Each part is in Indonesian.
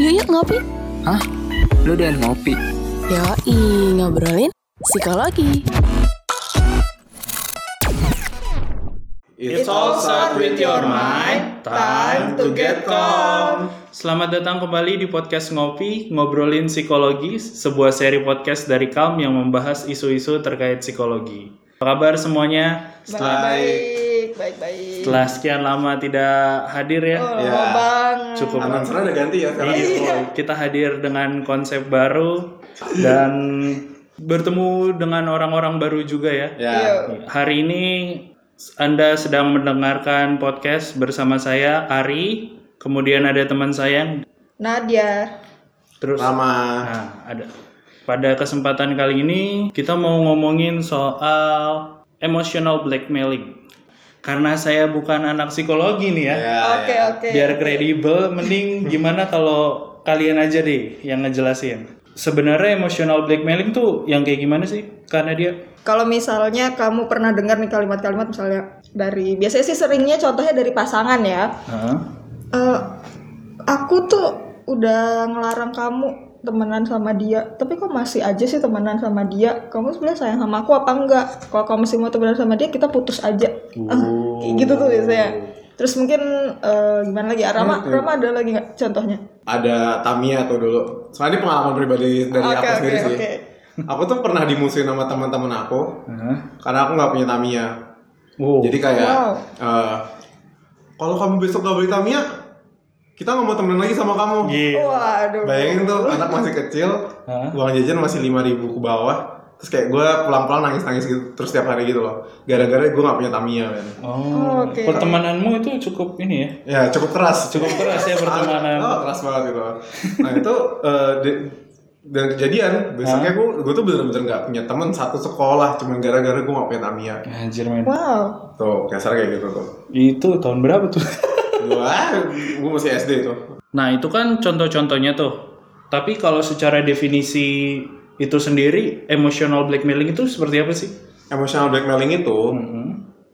Yuk yuk ngopi. Hah? Lu udah ngopi? Yoi, Ya, ngobrolin psikologi. It's all start with your mind. Time to get calm. Selamat datang kembali di podcast Ngopi, ngobrolin psikologi, sebuah seri podcast dari Calm yang membahas isu-isu terkait psikologi. Apa kabar semuanya? Baik. baik-baik. Setelah sekian lama tidak hadir ya, Oh, Ya. lama banget. cukup Announcer udah ganti ya sekarang. Iya, kita hadir dengan konsep baru dan bertemu dengan orang-orang baru juga ya. Ya. Iya. Hari ini Anda sedang mendengarkan podcast bersama saya Ari, kemudian ada teman saya Nadia. terus Lama. Nah, ada. Pada kesempatan kali ini kita mau ngomongin soal emotional blackmailing. Karena saya bukan anak psikologi nih ya. Ya, Oke, ya. oke. Biar kredibel, mending gimana kalau kalian aja deh yang ngejelasin. Sebenarnya emotional blackmailing tuh yang kayak gimana sih? Karena dia Kalau misalnya kamu pernah dengar nih kalimat-kalimat misalnya dari biasanya sih seringnya contohnya dari pasangan ya. Hah? Eh, aku tuh udah ngelarang kamu temenan sama dia, tapi kok masih aja sih temenan sama dia? Kamu sebenarnya sayang sama aku apa enggak? Kalau kamu masih mau temenan sama dia, kita putus aja. Ah, Oh. kayak gitu tuh biasanya. Terus mungkin eh, gimana lagi? Ah, Hmm, Rama, Rama ada lagi nggak contohnya? Ada Tamiya tuh dulu. Soalnya ini pengalaman pribadi dari Oke, aku oke, sendiri sih. oke. Aku tuh pernah dimusuhin sama teman-teman aku Hah? karena aku nggak punya Tamiya. Wow. Jadi kayak Wow. eh, kalau kamu besok gak beli Tamiya, kita nggak mau temenan lagi sama kamu. Gila. Waduh. Iya. Bayangin tuh anak masih kecil, Hah? uang jajan masih 5000 ke bawah. Terus kayak gue pelan-pelan nangis-nangis gitu terus tiap hari gitu loh. Gara-gara gue gak punya Tamiya men. Oh, Oke. pertemananmu itu cukup ini ya. Ya cukup keras, Cukup keras ya pertemanan. Oh, keras banget gitu. Nah itu eh, di- dan kejadian besoknya gue gue tuh bener-bener nggak punya teman satu sekolah cuman gara-gara gue nggak punya Tamiya. Anjir men. Wow. Tuh kasar kayak gitu tuh. Itu tahun berapa tuh? Gue gue masih SD tuh. Nah, itu kan contoh-contohnya tuh. Tapi kalau secara definisi itu sendiri, emotional blackmailing itu seperti apa sih? Emotional blackmailing itu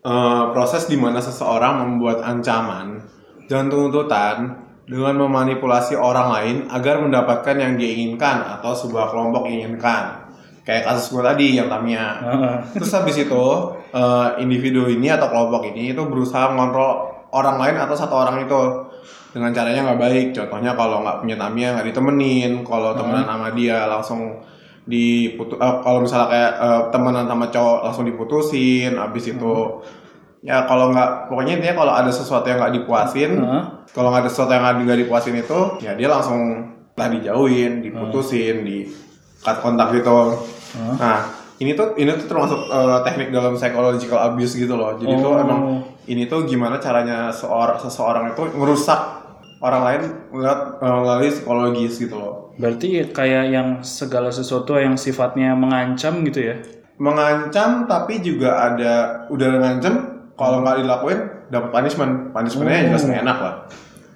eh, proses di mana seseorang membuat ancaman dan tuntutan dengan memanipulasi orang lain agar mendapatkan yang diinginkan atau sebuah kelompok inginkan. Kayak kasus gue tadi yang Tamiya. Heeh. Terus habis itu eh, individu ini atau kelompok ini itu berusaha mengontrol orang lain atau satu orang itu dengan caranya nggak baik. Contohnya kalau nggak punya Tamiya nggak ditemenin, kalau temenan sama dia langsung diputus. kalau misalnya kayak eh, temenan sama cowok langsung diputusin. Habis itu Hmm. ya kalau nggak pokoknya intinya kalau ada sesuatu yang nggak dipuasin, Heeh. kalau nggak ada sesuatu yang nggak nggak dipuasin itu ya dia langsung lah Hmm. dijauhin, diputusin, di cut kontak gitu. Heeh. Nah, ini tuh ini tuh termasuk eh, teknik dalam psychological abuse gitu loh. Jadi tuh Oh. emang ini tuh gimana caranya seorang seseorang itu merusak orang lain melihat eh, melalui psikologis gitu loh. Berarti kayak yang segala sesuatu yang sifatnya mengancam gitu ya? Mengancam tapi juga ada udah ngancam kalau nggak dilakuin dapat punishment. Punishmentnya jelas nggak enak lah.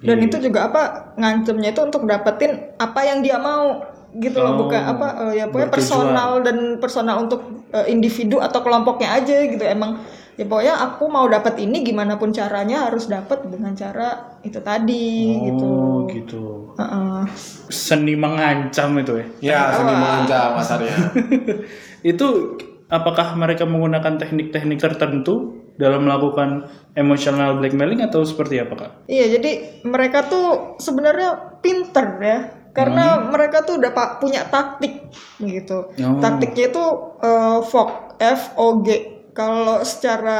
Dan Iya. itu juga apa ngancemnya itu untuk dapetin apa yang dia mau gitu Oh. loh, bukan apa eh, ya pokoknya Bertujuan. personal dan personal untuk eh, individu atau kelompoknya aja gitu emang ya pokoknya aku mau dapat ini gimana pun caranya harus dapat dengan cara itu tadi gitu. Oh, gitu. Heeh. Seni mengancam itu ya? Ya, seni mengancam kasarnya. Itu apakah mereka menggunakan teknik-teknik tertentu dalam melakukan emotional blackmailing atau seperti apa, Kak? Iya, jadi mereka tuh sebenarnya pinter ya, karena mereka tuh udah pa- punya taktik gitu. Hmm. Oh. Taktiknya itu eh, fog, F O G. Kalau secara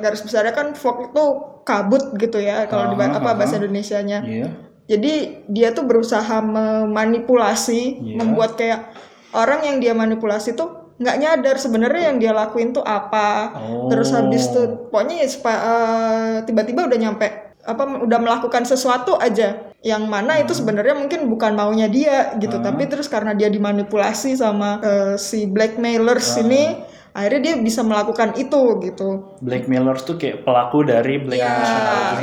garis besarnya kan fog itu kabut gitu ya, kalau di ba- Ah, ah. apa bahasa Indonesianya. Iya. Jadi dia tuh berusaha memanipulasi, Iya. membuat kayak orang yang dia manipulasi tuh nggak nyadar sebenarnya yang dia lakuin tuh apa. Oh. Terus habis tuh pokoknya ya sepa- eh, tiba-tiba udah nyampe apa udah melakukan sesuatu aja yang mana itu Hmm. sebenarnya mungkin bukan maunya dia gitu, tapi terus karena dia dimanipulasi sama eh, si blackmailers Ah. ini akhirnya dia bisa melakukan itu gitu. Blackmailers tuh kayak pelaku dari black Iya,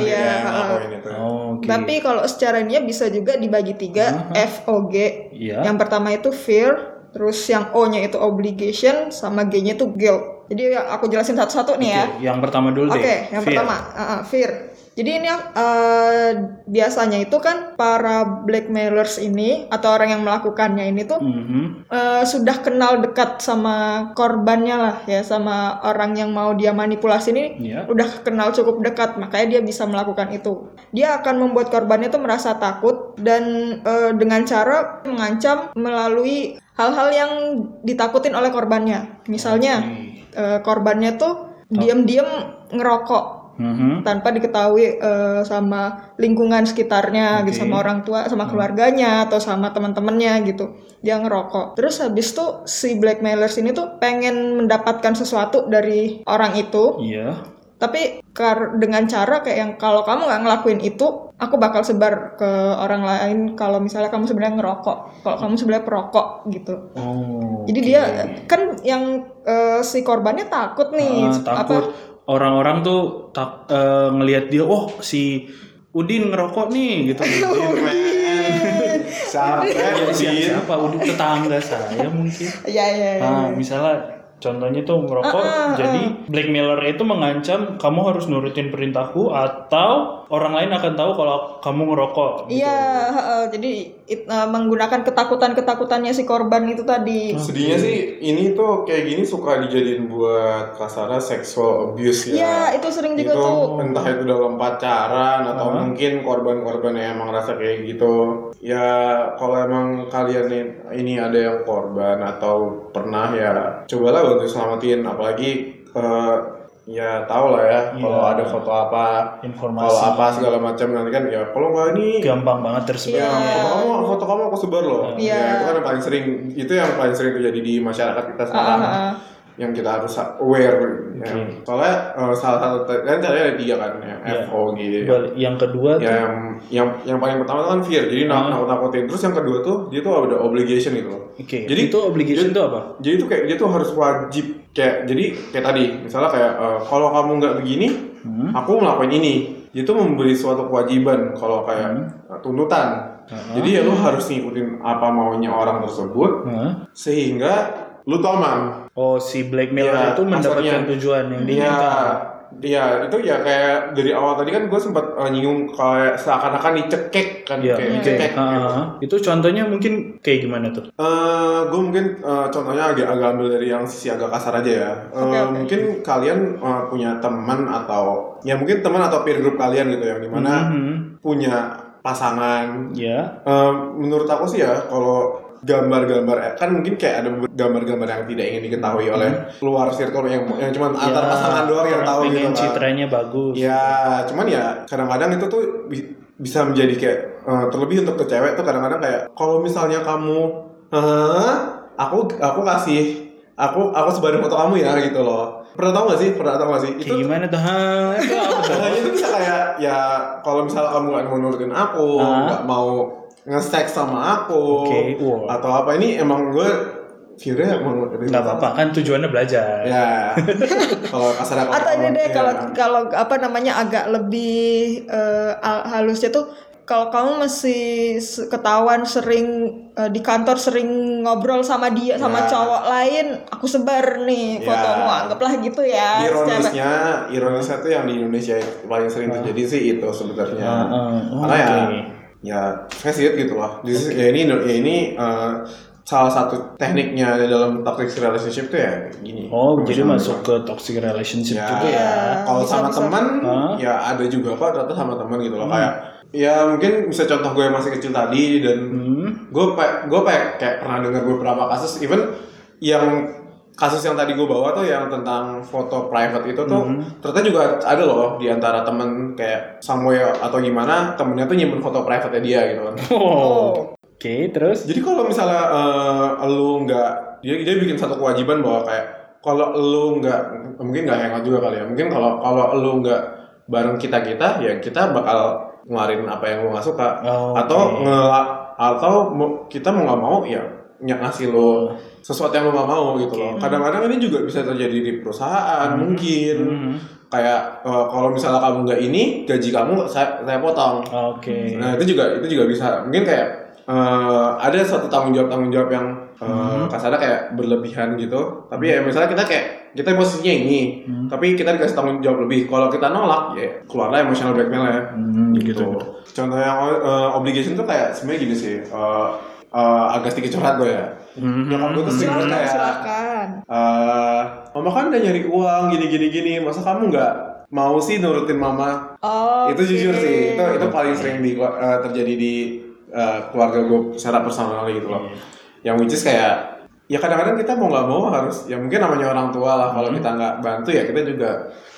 Dia iya. yang ngelakuin itu. Oh, oke. Hmm. Tapi kalau secara ininya bisa juga dibagi tiga FOG. Iya. Yang pertama itu fear, terus yang O-nya itu obligation, sama G-nya itu guilt. Jadi aku jelasin satu-satu nih ya. Oke, yang pertama dulu Oke, deh. yang Fear. pertama uh-uh, fear. Jadi ini eh, biasanya itu kan para blackmailers ini atau orang yang melakukannya ini tuh Mhm. eh, sudah kenal dekat sama korbannya lah ya sama orang yang mau dia manipulasi ini Iya. udah kenal cukup dekat makanya dia bisa melakukan itu dia akan membuat korbannya itu merasa takut dan eh, dengan cara mengancam melalui hal-hal yang ditakutin oleh korbannya misalnya eh, korbannya tuh diam-diam ngerokok Mhm. tanpa diketahui eh, sama lingkungan sekitarnya gitu sama orang tua Hmm. sama keluarganya atau sama teman-temannya gitu dia ngerokok terus habis tuh si blackmailers ini tuh pengen mendapatkan sesuatu dari orang itu Iya. tapi kar- dengan cara kayak yang kalau kamu nggak ngelakuin itu aku bakal sebar ke orang lain kalau misalnya kamu sebenarnya ngerokok kalau kamu sebenarnya perokok gitu Oh. jadi dia kan yang eh, si korbannya takut nih Ah, takut orang-orang tuh tak eh, ngelihat dia, oh si Udin ngerokok nih gitu. Iya. Sampai Ya, di siapa Udin tetangga saya mungkin. ya ya ya. Nah, misalnya contohnya tuh Ah, merokok, jadi blackmailer itu mengancam kamu harus nurutin perintahku atau orang lain akan tahu kalau kamu ngerokok. gitu. Iya, heeh, jadi it- eh, menggunakan ketakutan-ketakutannya si korban itu tadi. Sedihnya sih ini tuh kayak gini suka dijadiin buat kasarnya seksual abuse ya. Iya, itu sering juga itu tuh. entah itu dalam pacaran atau mungkin korban-korban yang emang rasa kayak gitu ya kalau emang kalian ni- ini ada yang korban atau pernah ya cobalah bantu selamatin apalagi eh, ya tau lah ya kalau ada foto apa Informasi kalau apa segala macam nanti kan ya kalau nggak ini gampang banget tersebar. Ya, foto kamu, foto kamu aku sebar loh. Iya. Ya, itu kan yang paling sering, itu yang paling sering terjadi di masyarakat kita Ah, sekarang. Yang kita harus aware. Ya. Soalnya eh, salah satu kan caranya ada tiga kan, yang FOG. Iya. Bal- Yang kedua tuh, Yang yang yang paling pertama itu kan fear, jadi nak- nakut-nakutin. Terus yang kedua tuh dia tuh ada obligation gitu loh. Oke, Jadi itu obligation itu apa? Jadi tuh kayak dia tuh harus wajib kayak jadi kayak tadi misalnya kayak eh, kalau kamu nggak begini, aku melakukan ini. Itu memberi suatu kewajiban kalau kayak eh, tuntutan. Jadi ya lu harus ngikutin apa maunya orang tersebut Hah? sehingga lu tuh aman. Oh, si Iya, blackmailer itu mendapatkan maksudnya- tujuan yang Iya, diinginkan. iya itu ya kayak dari awal tadi kan gue sempat eh, nyinggung kayak seakan-akan dicekek kan Iya, kayak oke. dicekek. Ah, ah, ah. Itu contohnya mungkin kayak gimana tuh? gue mungkin eh, contohnya agak agak ambil dari yang sisi agak kasar aja ya. Eh, Oke, oke. Mungkin kalian eh, punya teman atau ya mungkin teman atau peer group kalian gitu yang dimana Mhm. punya pasangan. Iya. Eh, menurut aku sih ya kalau gambar-gambar kan mungkin kayak ada beberapa gambar-gambar yang tidak ingin diketahui oleh luar circle yang yang cuma antar Ya, pasangan doang yang tahu gitu Hmm. Pengen kan. citranya bagus. Ya, cuman ya kadang-kadang itu tuh bi- bisa menjadi kayak eh, terlebih untuk ke cewek tuh kadang-kadang kayak kalau misalnya kamu "Hah? aku aku kasih aku aku sebarin foto kamu ya gitu loh. Pernah tau gak sih? Pernah tau gak sih? Kayak Itu gimana tuh? Ha, itu apa tuh? Nah, itu bisa kayak ya kalau misalnya kamu gak mau nurutin aku, Ah. nggak mau nge-sex sama aku Oke, wow. atau apa ini emang gue kira emang Gak apa-apa kan tujuannya belajar. Ya. kalau ya. kasar aku Atau ini deh kalau kalau apa namanya agak lebih eh, al- halusnya tuh kalau kamu masih se- ketahuan sering eh, di kantor sering ngobrol sama dia sama Ya. cowok lain, aku sebar nih Ya. fotomu anggaplah gitu Ah, ya. secara- ironisnya ironisnya tuh yang di Indonesia paling sering terjadi sih itu sebenarnya Ah, ah. Oh, karena iya. ya oke. ya saya sih gitu lah This is- ya ini ya ini eh, salah satu tekniknya dalam toxic relationship tuh ya gini Oh, jadi Sama-sama. masuk ke toxic relationship ya, juga ya. kalau sama teman Hah? Hmm. ya ada juga kok ternyata sama teman gitu loh kayak ya mungkin bisa contoh gue yang masih kecil tadi dan Hmm. gue pe- gue pe- kayak pernah dengar beberapa kasus even yang kasus yang tadi gue bawa tuh yang tentang foto private itu tuh ternyata juga ada loh di antara temen kayak Samuel atau gimana temennya tuh nyimpen foto private dia gitu kan Oh. Oke, terus? jadi kalau misalnya eh, lu nggak dia dia bikin satu kewajiban bahwa kayak kalau lu nggak mungkin nggak hangout juga kali ya mungkin kalau kalau lu nggak bareng kita kita ya kita bakal ngeluarin apa yang lu nggak suka Oh, atau oke. ngela- atau mau- kita mau nggak mau ya yang ngasih lo sesuatu yang lo nggak mau gitu loh kadang-kadang ini juga bisa terjadi di perusahaan mungkin Mhm. kayak eh, kalau misalnya kamu nggak ini gaji kamu saya, saya potong Oke. Nah itu juga itu juga bisa mungkin kayak eh, ada satu tanggung jawab tanggung jawab yang eh Hmm. kasarnya kayak berlebihan gitu tapi ya misalnya kita kayak kita emosinya ini Hmm. tapi kita dikasih tanggung jawab lebih kalau kita nolak ya keluarlah emotional blackmail ya Hmm, gitu. contoh yang eh, obligation tuh kayak sebenarnya gini sih eh, eh, agak sedikit curhat gue ya nyokap gue tuh sering banget silakan kayak silakan eh, mama kan udah nyari uang gini gini gini masa kamu nggak mau sih nurutin mama oh itu jujur sih itu itu paling sering di, eh, terjadi di eh, keluarga gue secara personal gitu loh yang which is kayak ya kadang-kadang kita mau nggak mau harus ya mungkin namanya orang tua lah kalau kita nggak bantu ya kita juga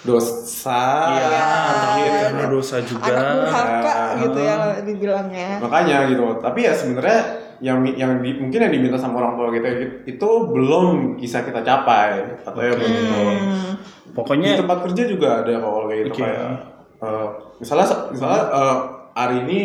dosa Iya, tapi Iya. karena dosa juga. anak durhaka Ah. gitu ya dibilangnya makanya gitu tapi ya sebenarnya yang yang di- mungkin yang diminta sama orang tua kita itu belum bisa kita capai atau ya belum Iya. gitu. Hmm. Pokoknya di tempat kerja juga ada kalau kayak gitu Iya. Oke. kayak eh, misalnya misalnya eh, hari ini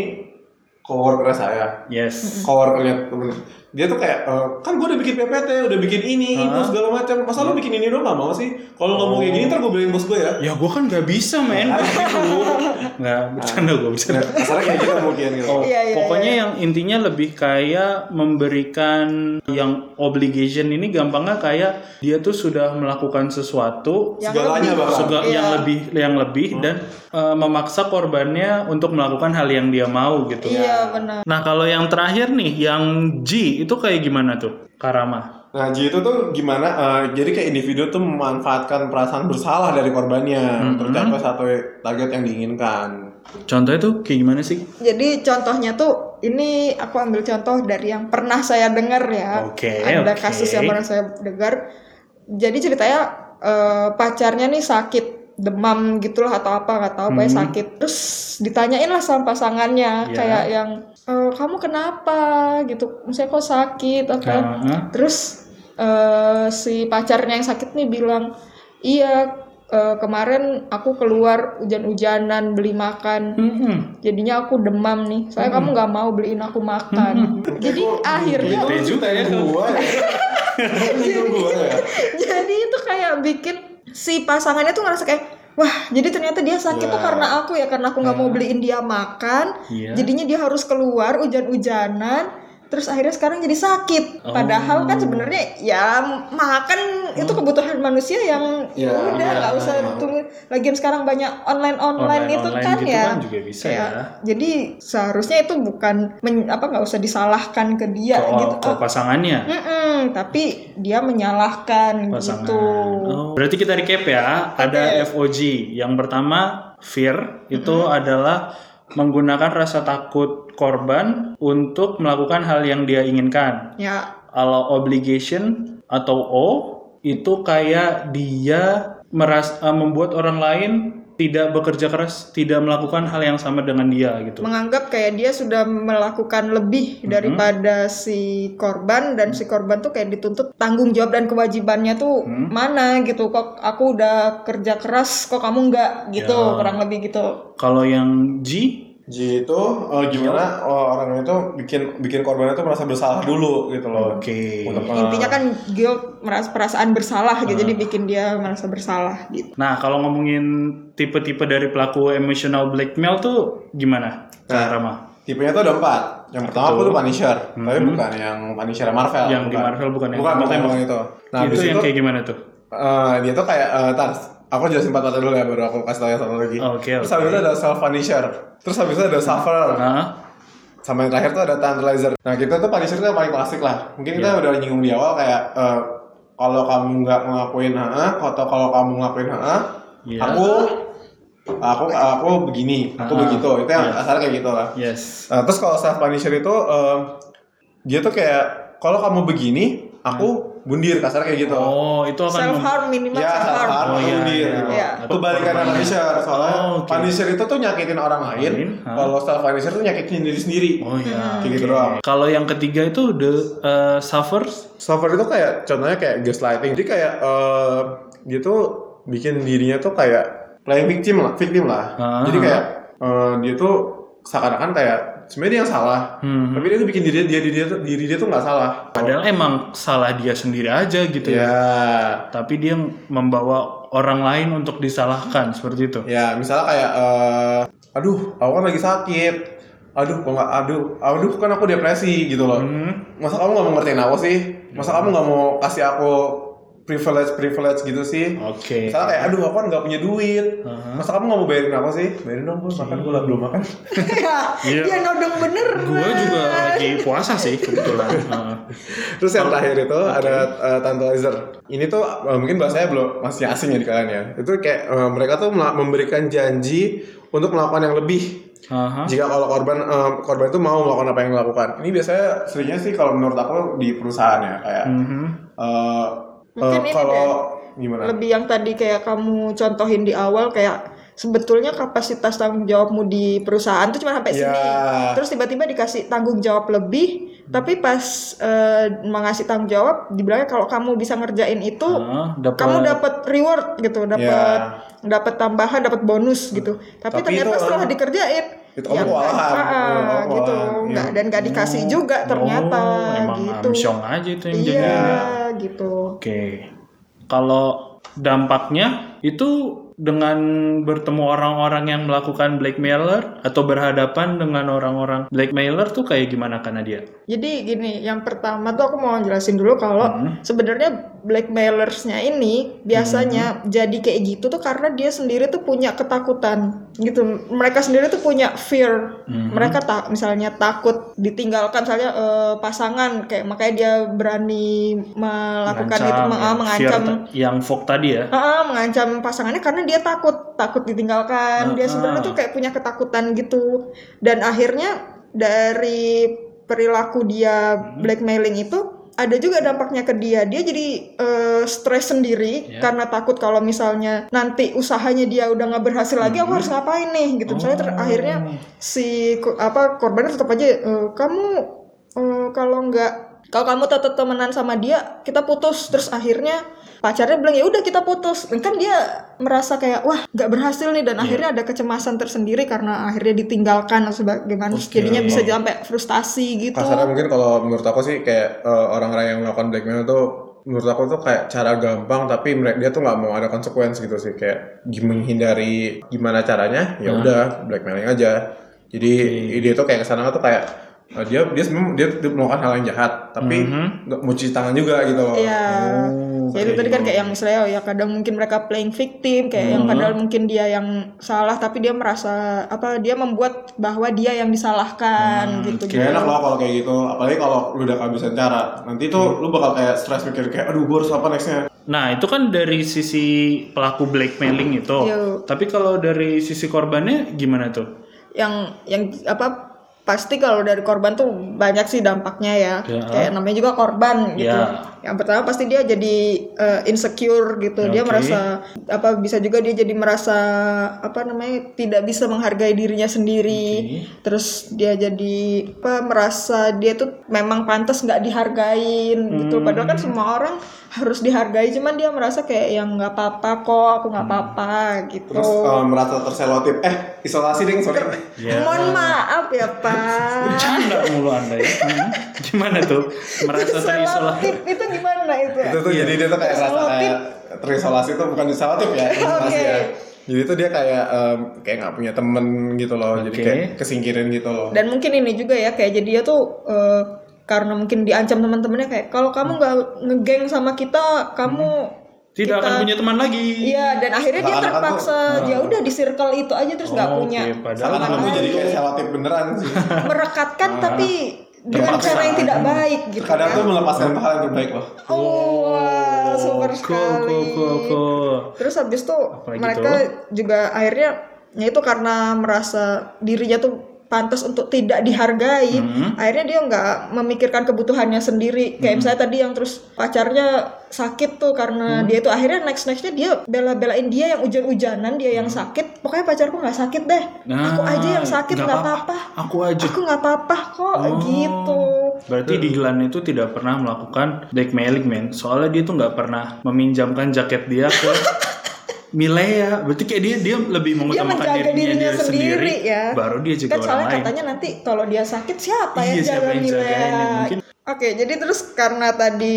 coworker saya yes. coworkernya temen dia tuh kayak eh, kan gue udah bikin PPT udah bikin ini itu Hah? segala macam masa lo bikin ini doang gak mau sih kalau ngomong kayak gini ntar gue bilangin bos gue ya Ya gua kan nggak bisa men kayak gitu. Nggak bercanda gua bercanda. Nah, kasarnya kayak gitu mungkin gitu Oh, Iya, iya, pokoknya iya. yang intinya lebih kayak memberikan yang obligation ini gampangnya kayak dia tuh sudah melakukan sesuatu Yang segalanya lebih- bahkan sega- Iya. yang lebih yang lebih dan eh, memaksa korbannya untuk melakukan hal yang dia mau gitu. iya benar Nah, kalau yang terakhir nih, yang G itu kayak gimana tuh? Karama. nah jadi itu tuh gimana eh, jadi kayak individu tuh memanfaatkan perasaan bersalah dari korbannya untuk capai satu target yang diinginkan Contohnya tuh kayak gimana sih? Jadi contohnya tuh ini aku ambil contoh dari yang pernah saya dengar ya. Oke, Ada oke. kasus yang pernah saya dengar. Jadi ceritanya eh, pacarnya nih sakit demam gitulah atau apa nggak tahu pokoknya sakit. Terus ditanyain lah sama pasangannya Hmm. Iya. kayak yang "Eh, kamu kenapa gitu. Misalnya kok sakit atau Heeh. Terus eh, si pacarnya yang sakit nih bilang, iya eh, kemarin aku keluar hujan-hujanan beli makan, Mm-mm. jadinya aku demam nih. Soalnya kamu nggak mau beliin aku Hmm. makan. Jadi gitu akhirnya, Gitu Bete juga ya kamu. gue ya Itu gue ya jadi itu kayak bikin si pasangannya tuh ngerasa kayak Wah, jadi ternyata dia sakit tuh Wah. karena aku ya, karena aku nggak mau beliin dia makan, Iya. jadinya dia harus keluar hujan-hujanan, terus akhirnya sekarang jadi sakit. Oh. Padahal kan sebenarnya ya makan Hmm. itu kebutuhan manusia yang Ya, udah ya, nggak usah ya. tunggu. Lagian sekarang banyak online-online itu Online-online kan gitu ya. kan juga bisa Kayak, ya. Jadi seharusnya itu bukan men- apa nggak usah disalahkan ke dia Kalau gitu. kalau Ah, pasangannya. mm-mm, tapi dia menyalahkan pasangan. gitu. Oh, Berarti kita recap ya, ada FOG. Yang pertama fear itu adalah menggunakan rasa takut korban untuk melakukan hal yang dia inginkan. Ya, Kalau obligation atau O itu kayak dia meras eh, membuat orang lain tidak bekerja keras, tidak melakukan hal yang sama dengan dia gitu. menganggap kayak dia sudah melakukan lebih daripada si korban dan si korban tuh kayak dituntut tanggung jawab dan kewajibannya tuh mana gitu kok aku udah kerja keras kok kamu nggak gitu Ya. kurang lebih gitu Kalau yang G Jadi itu eh, gimana eh, orang itu bikin bikin korban itu merasa bersalah dulu gitu loh. Oke. Untuk, eh, intinya kan guilt merasa perasaan bersalah gitu jadi bikin dia merasa bersalah gitu Nah, kalau ngomongin tipe-tipe dari pelaku emotional blackmail tuh gimana? Nah, Kak Rama? tipenya tuh ada empat. Yang pertama aku tuh Punisher, tapi bukan yang Punisher Marvel. Mm-hmm. Yang di bukan. Marvel bukan yang bukan, bukan, tembak-tembak. bukan itu. Nah, itu habis yang itu kayak gimana tuh? eh, dia tuh kayak eh, tar, aku jelasin empat tadi dulu ya baru aku kasih tau yang satu lagi. Oke, Terus oke. Nah. habis itu ada self Punisher. Terus habis itu ada Sufferer. Hah? sama yang terakhir tuh ada tantalizer nah kita tuh paling sering tuh yang paling klasik lah mungkin Iya. kita udah nyinggung di awal kayak eh, kalau kamu nggak ngelakuin ha atau kalau kamu ngelakuin ha Iya. aku aku aku begini aku Ah, begitu itu yang iya. asal kayak gitu lah Yes. Nah, terus kalau self punisher itu eh, dia tuh kayak kalau kamu begini aku bundir kasar kayak gitu Hmm. Oh, itu akan self mem- harm minimal Ya, self harm salah Oh, iya, bundir iya. gitu. Iya. Kebalikannya Korbannya. Punisher, soalnya Oh, oke. Punisher itu tuh nyakitin orang lain, Lain, ha. kalau self Punisher tuh nyakitin diri sendiri. Oh iya. Kayak gitu doang. Kalau yang ketiga itu the uh, suffers. Software itu kayak contohnya kayak gaslighting. Jadi kayak eh, dia tuh bikin dirinya tuh kayak playing victim lah, victim lah. Ah. Jadi kayak eh, dia tuh seakan-akan kayak sebenarnya dia yang salah. Hmm. Tapi dia tuh bikin diri dia diri dia tuh diri dia tuh nggak salah. Oh. Padahal emang salah dia sendiri aja gitu ya. Ya, Tapi dia membawa orang lain untuk Iya. disalahkan seperti itu. ya misalnya kayak eh, aduh, aku kan lagi sakit. aduh kok nggak aduh aduh kan aku depresi gitu loh Hmm. masa kamu nggak mau ngertiin aku sih masa kamu nggak mau kasih aku privilege privilege gitu sih Oke. Misalnya kayak aduh aku kan nggak punya duit Aha. masa kamu nggak mau bayarin aku sih Uh-huh. bayarin dong gue makan gue lah belum makan ya Iya. dia nodong bener Gue juga lagi puasa sih kebetulan. Heeh. terus yang terakhir itu ada eh, Tante Lizer ini tuh eh, mungkin bahasanya belum masih asing ya di kalian ya itu kayak eh, mereka tuh mela- memberikan janji untuk melakukan yang lebih Aha. jika kalau korban eh, korban itu mau melakukan apa yang dilakukan ini biasanya seringnya sih kalau menurut aku di perusahaan ya kayak Mhm. eh, eh, Mungkin ini kalau gimana lebih yang tadi kayak kamu contohin di awal kayak sebetulnya kapasitas tanggung jawabmu di perusahaan tuh cuma sampai Ya. sini terus tiba-tiba dikasih tanggung jawab lebih tapi pas eh, mengasih tanggung jawab dibilangnya kalau kamu bisa ngerjain itu Ah, dapat- kamu dapat reward gitu dapat Ya. dapat tambahan dapat bonus gitu tapi, Tapi ternyata itu, setelah eh, dikerjain itu kamu nggak- kewalahan. ah, ah, Kamu kewalahan, gitu iya. nggak dan nggak dikasih juga ternyata Oh, emang gitu Amsyong aja itu yang iya jadi. gitu Oke. Kalau dampaknya itu dengan bertemu orang-orang yang melakukan blackmailer atau berhadapan dengan orang-orang blackmailer tuh kayak gimana karena dia? Jadi gini, yang pertama tuh aku mau jelasin dulu kalau Hmm. sebenarnya blackmailersnya ini biasanya Hmm. jadi kayak gitu tuh karena dia sendiri tuh punya ketakutan gitu. Mereka sendiri tuh punya fear. Hmm. Mereka tak misalnya takut ditinggalkan misalnya eh, pasangan kayak makanya dia berani melakukan itu meng- ya. mengancam Fear ta- yang Vogue tadi ya. Ah, ah, mengancam pasangannya karena dia takut takut ditinggalkan dia Ah, sebenarnya ah. tuh kayak punya ketakutan gitu dan akhirnya dari perilaku dia blackmailing itu ada juga dampaknya ke dia dia jadi eh, stres sendiri Ya. karena takut kalau misalnya nanti usahanya dia udah nggak berhasil lagi aku harus ngapain nih gitu misalnya ter- Oh. akhirnya si ko- apa korbannya tetap aja "Eh, kamu eh, kalau nggak kalau kamu tetap temenan sama dia kita putus terus akhirnya pacarnya bilang ya udah kita putus Dan kan dia merasa kayak wah nggak berhasil nih dan akhirnya ada kecemasan tersendiri karena akhirnya ditinggalkan atau sebagaimana Terus jadinya bisa sampai frustasi gitu kasarnya mungkin kalau menurut aku sih kayak eh, orang-orang yang melakukan blackmail tuh menurut aku tuh kayak cara gampang tapi mereka dia tuh nggak mau ada konsekuensi gitu sih kayak gim- menghindari gimana caranya ya udah blackmailing aja jadi dia tuh kayak kesana tuh kayak eh, dia dia sebenarnya dia tuh melakukan hal yang jahat tapi nggak mau cuci tangan juga gitu loh Iya. Oh, ya itu tadi kan kayak yang misalnya oh ya kadang mungkin mereka playing victim kayak yang padahal mungkin dia yang salah tapi dia merasa apa dia membuat bahwa dia yang disalahkan gitu Gak enak loh kalau kayak gitu apalagi kalau lu udah kehabisan cara nanti tuh lu bakal kayak stres mikir kayak aduh gue harus apa nextnya Nah, itu kan dari sisi pelaku blackmailing itu. Iya. Tapi kalau dari sisi korbannya gimana tuh? yang yang apa pasti kalau dari korban tuh banyak sih dampaknya ya Ya. kayak namanya juga korban gitu Ya. yang pertama pasti dia jadi eh, insecure gitu dia Oke. merasa apa bisa juga dia jadi merasa apa namanya tidak bisa menghargai dirinya sendiri terus dia jadi apa merasa dia tuh memang pantas nggak dihargain gitu Hmm. padahal kan semua orang harus dihargai cuman dia merasa kayak yang nggak apa-apa kok aku Hmm. nggak apa-apa gitu terus eh, merasa terselotip eh isolasi ding sorry mohon maaf ya pak Canda mulu Anda ya. Hmm. Gimana tuh? Merasa terisolasi. Selotip itu gimana itu? ya? itu tuh jadi dia tuh kayak rasa Isolatif. kayak terisolasi tuh bukan isolatif ya isolasi Oke. ya jadi tuh dia kayak em, kayak nggak punya temen gitu loh jadi Oke. kayak kesingkirin gitu loh Dan mungkin ini juga ya kayak jadi dia tuh eh, karena mungkin diancam teman-temannya kayak kalau Hmm. kamu nggak ngegeng sama kita, kamu Tidak akan kita- punya teman lagi. Iya, dan akhirnya dia Seakan-akan terpaksa ya udah di circle itu aja terus nggak Oh, Oke, punya padahal seakan kamu jadi kayak isolatif beneran sih merekatkan Ah. tapi dengan Terpaksa. cara yang tidak baik gitu. kadang kan. tuh melepaskan hal yang terbaik loh Oh, wah, super Cool, sekali. cool, cool, cool. Terus habis itu lagi mereka juga akhirnya ya itu karena merasa dirinya tuh pantas untuk tidak dihargai, akhirnya dia nggak memikirkan kebutuhannya sendiri. Kayak misalnya tadi yang terus pacarnya sakit tuh karena dia tuh akhirnya next nextnya dia bela-belain dia yang hujan-hujanan dia yang sakit. Pokoknya pacarku nggak sakit deh, aku Nah, aja yang sakit nggak apa-apa. Aku aja. Aku nggak apa-apa kok gitu. Berarti Dylan itu tidak pernah melakukan blackmailing, men. Soalnya dia tuh nggak pernah meminjamkan jaket dia ke Milea. Berarti kayak dia dia lebih Dia mengutamakan menjaga dirinya, dia dirinya sendiri, ya. Baru dia jaga kan orang soalnya lain. katanya nanti kalau dia sakit siapa Iya, yang siapa jaga yang Mila? jagain ya? Mungkin- Oke, jadi terus Hmm. karena tadi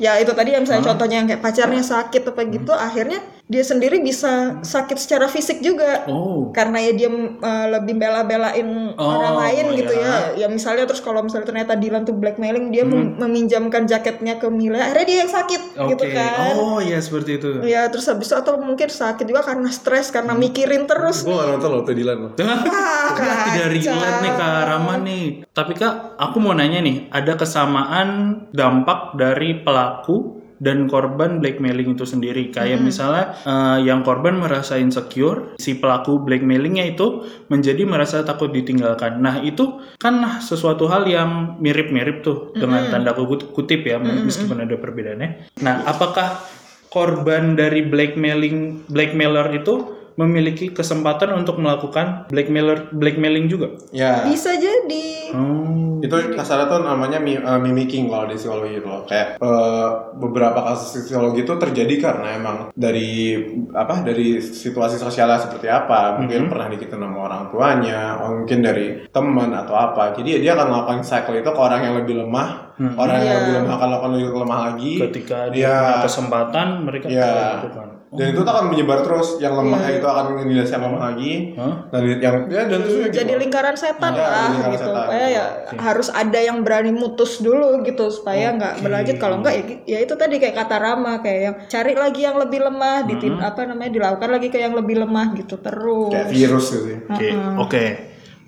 ya itu tadi yang misalnya contohnya yang kayak pacarnya sakit apa gitu, akhirnya dia sendiri bisa sakit secara fisik juga Oh. karena ya dia uh, lebih bela-belain Oh, orang lain gitu iya. ya. Ya misalnya terus kalau misalnya ternyata Dylan tuh blackmailing dia mem- meminjamkan jaketnya ke Mila, akhirnya dia yang sakit Hmm. Oke. gitu kan. Oh ya seperti itu. Ya terus habis itu atau mungkin sakit juga karena stres karena Hmm. mikirin terus Gue gak nonton loh tuh Dilan loh. Ah, Kak, tidak relate nih Kak Rama nih. Tapi Kak, aku mau nanya nih, ada kesamaan dampak dari pelaku dan korban blackmailing itu sendiri. Kayak misalnya eh, yang korban merasa insecure, si pelaku blackmailingnya itu menjadi merasa takut ditinggalkan. Nah itu kan sesuatu hal yang mirip-mirip tuh dengan tanda kut- kutip ya, meskipun ada perbedaannya. Nah apakah korban dari blackmailing blackmailer itu memiliki kesempatan untuk melakukan blackmailer blackmailing juga. Ya. Bisa jadi. Oh. itu kasarnya tuh namanya mi- eh, mimicking kalau di psikologi itu loh. kayak eh, beberapa kasus psikologi itu terjadi karena emang dari apa dari situasi sosialnya seperti apa mungkin pernah dikitin sama orang tuanya oh, mungkin dari teman atau apa jadi ya dia akan melakukan cycle itu ke orang yang lebih lemah orang yang Iya. lebih lemah akan melakukan lebih lemah lagi Ketika dia Iya. punya kesempatan mereka gitu kan. Iya. melakukan. dan itu tuh akan menyebar terus yang lemah Iya. itu akan menindasi yang lemah lagi Hah? dan yang ya dan terus ya Jadi gitu. lingkaran setan Iya, lah lingkaran gitu. setan. Supaya ya harus ada yang berani mutus dulu gitu supaya nggak berlanjut. Kalau nggak ya, ya itu tadi kayak kata Rama kayak yang cari lagi yang lebih lemah, ditin apa namanya dilakukan lagi ke yang lebih lemah gitu terus. Mm-hmm. kayak virus gitu sih Oke, oke.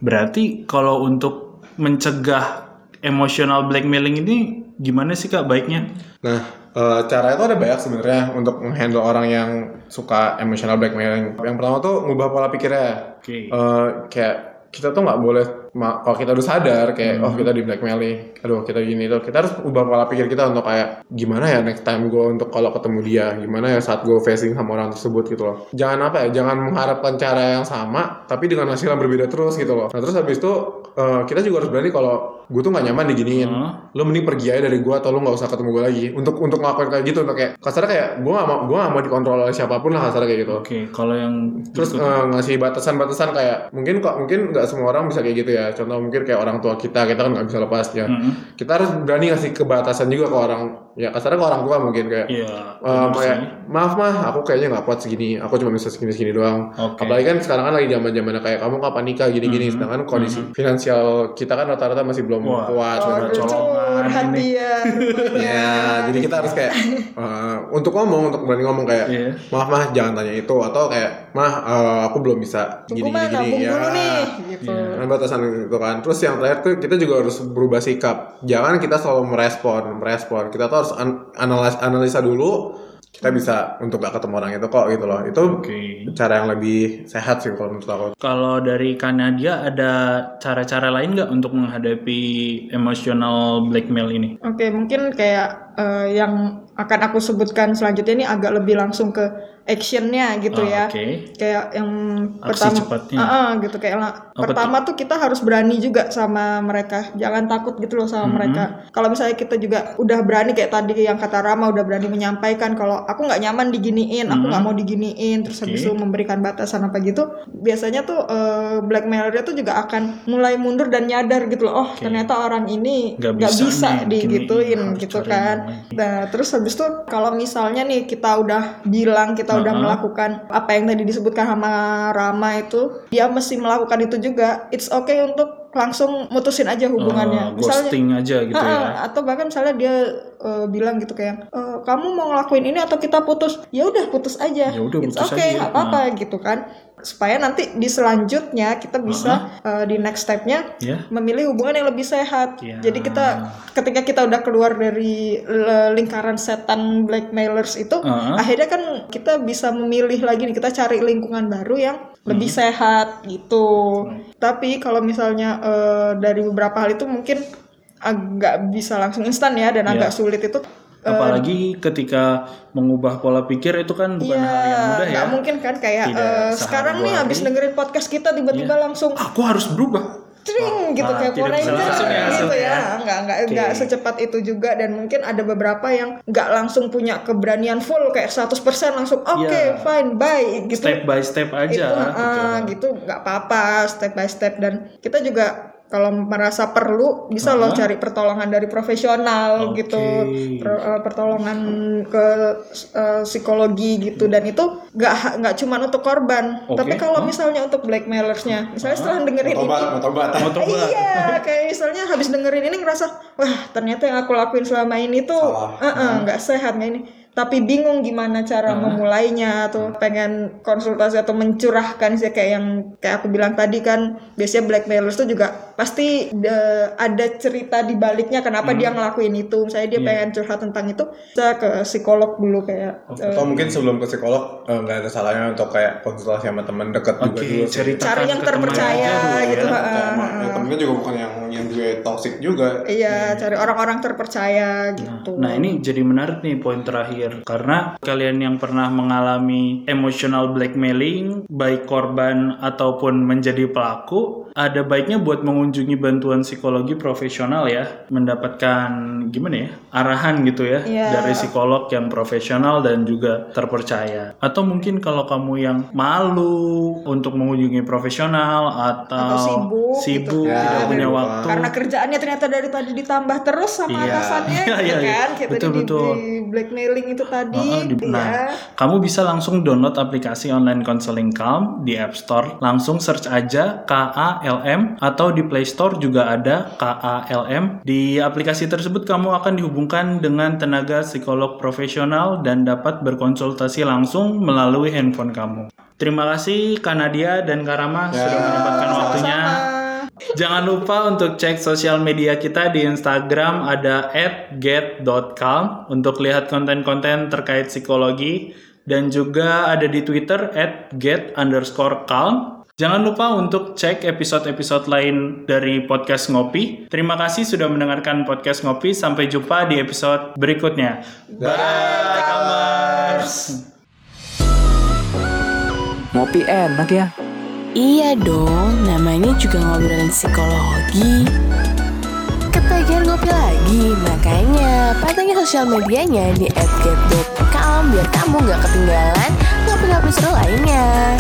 Berarti kalau untuk mencegah emotional blackmailing ini gimana sih Kak baiknya? Nah, eh, caranya tuh ada banyak sebenarnya untuk menghandle orang yang suka emotional blackmailing. Yang pertama tuh ngubah pola pikirnya. Oke. Eh, kayak kita tuh nggak boleh ma- kalau kita udah sadar kayak oh kita di blackmailing, aduh kita gini tuh kita harus ubah pola pikir kita untuk kayak gimana ya next time gue untuk kalau ketemu dia, gimana ya saat gue facing sama orang tersebut gitu loh. Jangan apa ya, jangan mengharapkan cara yang sama tapi dengan hasil yang berbeda terus gitu loh. Nah terus habis itu eh, kita juga harus berani kalau gue tuh nggak nyaman diginiin, Heeh. lo mending pergi aja dari gue atau lo nggak usah ketemu gue lagi untuk untuk ngelakuin kayak gitu untuk kayak kasarnya kayak gue gak mau gue gak mau dikontrol oleh siapapun lah kasarnya kayak gitu Oke, kalau yang gitu. terus eh, ngasih batasan-batasan kayak mungkin kok mungkin nggak semua orang bisa kayak gitu ya contoh mungkin kayak orang tua kita kita kan nggak bisa lepas ya Mhm. kita harus berani ngasih kebatasan juga ke orang ya kasarnya ke orang tua mungkin kayak Iya. Eh, benar kayak, sih. maaf mah aku kayaknya nggak kuat segini aku cuma bisa segini segini doang Oke. Hmm. apalagi kan sekarang kan lagi zaman zamannya kayak kamu kapan nikah gini gini sedangkan kondisi finansial kita kan rata-rata masih belum Wah. kuat segala Aduh, macam. oh, curhat ini. dia. Iya. Ya, jadi kita harus kayak eh, untuk ngomong, untuk berani ngomong kayak Iya. maaf mah jangan tanya itu atau kayak mah eh, aku belum bisa gini gini Tunggu mana, gini ya. nabung Iya. dulu nih. Gitu. Dan batasan itu kan. Terus yang terakhir tuh kita juga harus berubah sikap. Jangan kita selalu merespon, merespon. Kita tuh harus an- analis- analisa dulu. Kita bisa untuk gak ketemu orang itu kok gitu loh. Itu Oke. cara yang lebih sehat sih kalau menurut aku. Kalau dari Kanadia ada cara-cara lain nggak untuk menghadapi emotional blackmail ini? Oke, mungkin kayak eh, yang akan aku sebutkan selanjutnya ini agak lebih langsung ke actionnya Ah, gitu ya. Oke. kayak yang Aksi pertama cepatnya. Ah, ah, gitu kayak la- Iya. Apa pertama tuh kita harus berani juga sama mereka jangan takut gitu loh Mm-hmm. sama mereka kalau misalnya kita juga udah berani kayak tadi yang kata Rama udah berani menyampaikan kalau aku nggak nyaman diginiin aku Mm-hmm. nggak mau diginiin terus habis itu memberikan batasan apa gitu biasanya tuh eh, blackmailernya tuh juga akan mulai mundur dan nyadar gitu loh oh ternyata orang ini Nggak nggak bisa bisa, nih diginiin, digituin harus gitu cari yang kan lain. Nah, terus habis itu kalau misalnya nih kita udah bilang kita udah melakukan apa yang tadi disebutkan sama Rama itu, dia mesti melakukan itu juga. It's okay untuk langsung mutusin Eh, aja hubungannya. misalnya ghosting aja gitu Ah, ya. ah, atau bahkan misalnya dia eh, bilang gitu kayak "Eh, kamu mau ngelakuin ini atau kita putus ya udah putus aja Ya udah, It's putus okay, aja. Nah. nggak apa-apa gitu kan supaya nanti di selanjutnya kita bisa eh, di next stepnya Ya. memilih hubungan yang lebih sehat. Ya. Jadi kita ketika kita udah keluar dari le- lingkaran setan blackmailers itu, Uh-huh. akhirnya kan kita bisa memilih lagi nih kita cari lingkungan baru yang lebih Uh-huh. sehat gitu. Tapi kalau misalnya eh, dari beberapa hal itu mungkin agak bisa langsung instan ya dan agak sulit itu. Apalagi ketika mengubah pola pikir itu kan bukan hal yang Iya, mudah ya. nggak mungkin kan kayak Tidak eh, sehari sekarang dua nih hari. habis dengerin podcast kita tiba-tiba Iya. langsung Aku harus berubah. Tring gitu kayak tidak Power bisa Ranger langsung ya, gitu hasilnya. ya nggak nggak nggak secepat itu juga dan mungkin ada beberapa yang nggak langsung punya keberanian full kayak 100% langsung oke Iya. fine bye gitu Step by step aja. itu gitu. ah, gitu nggak apa-apa step by step dan kita juga kalau merasa perlu bisa loh cari pertolongan dari profesional Oke. gitu Per- eh, pertolongan ke eh, psikologi gitu dan itu nggak ha- nggak cuma untuk korban Oke. tapi kalau misalnya untuk blackmailersnya misalnya setelah dengerin ini Tobat, mau tobat. Mau tobat. Iya, kayak misalnya habis dengerin ini ngerasa, wah ternyata yang aku lakuin selama ini tuh Salah. eh, eh, Hmm. nggak sehat nggak ini. Tapi bingung gimana cara memulainya atau pengen konsultasi atau mencurahkan sih kayak yang kayak aku bilang tadi kan biasanya blackmailers tuh juga pasti de- ada cerita di baliknya kenapa dia Hmm. ngelakuin itu. Misalnya Iya. dia pengen curhat tentang itu, saya ke psikolog dulu kayak eh, Atau mungkin sebelum ke psikolog eh, nggak ada salahnya untuk kayak konsultasi sama teman dekat juga Oke, dulu. sih. ceritakan cari yang ke teman terpercaya aja dulu gitu. ya. eh, eh, Sama. eh. Ya, Iya, temennya juga bukan yang yang gue toxic juga. Iya, cari orang-orang terpercaya gitu. Nah ini jadi menarik nih poin terakhir karena kalian yang pernah mengalami emotional blackmailing baik korban ataupun menjadi pelaku ada baiknya buat mengunjungi bantuan psikologi profesional ya mendapatkan gimana ya arahan gitu ya Iya. dari psikolog yang profesional dan juga terpercaya atau mungkin kalau kamu yang malu untuk mengunjungi profesional atau, Atau sibuk gitu sibuk, kan. tidak Ya, punya di rumah. waktu karena kerjaannya ternyata dari tadi ditambah terus sama Iya. atasannya Iya, gitu iya, iya. kan kita Betul, di, betul. di blackmailing itu tadi Heeh, di- iya. Nah, kamu bisa langsung download aplikasi online counseling Calm di App Store. Langsung search aja KALM atau di Play Store juga ada KALM. Di aplikasi tersebut kamu akan dihubungkan dengan tenaga psikolog profesional dan dapat berkonsultasi langsung melalui handphone kamu. Terima kasih Kak Nadia dan Karama Rama Ya, sudah menyempatkan waktunya. Jangan lupa untuk cek sosial media kita di Instagram ada @get.calm untuk lihat konten-konten terkait psikologi dan juga ada di Twitter @get_calm. Jangan lupa untuk cek episode-episode lain dari podcast Ngopi. Terima kasih sudah mendengarkan podcast Ngopi. Sampai jumpa di episode berikutnya. Bye, Kamers. Ngopi enak ya. Iya dong, namanya juga ngobrolin psikologi. Ketagihan ngopi lagi, makanya pantengin sosial medianya di @get.com biar kamu nggak ketinggalan ngopi-ngopi seru lainnya.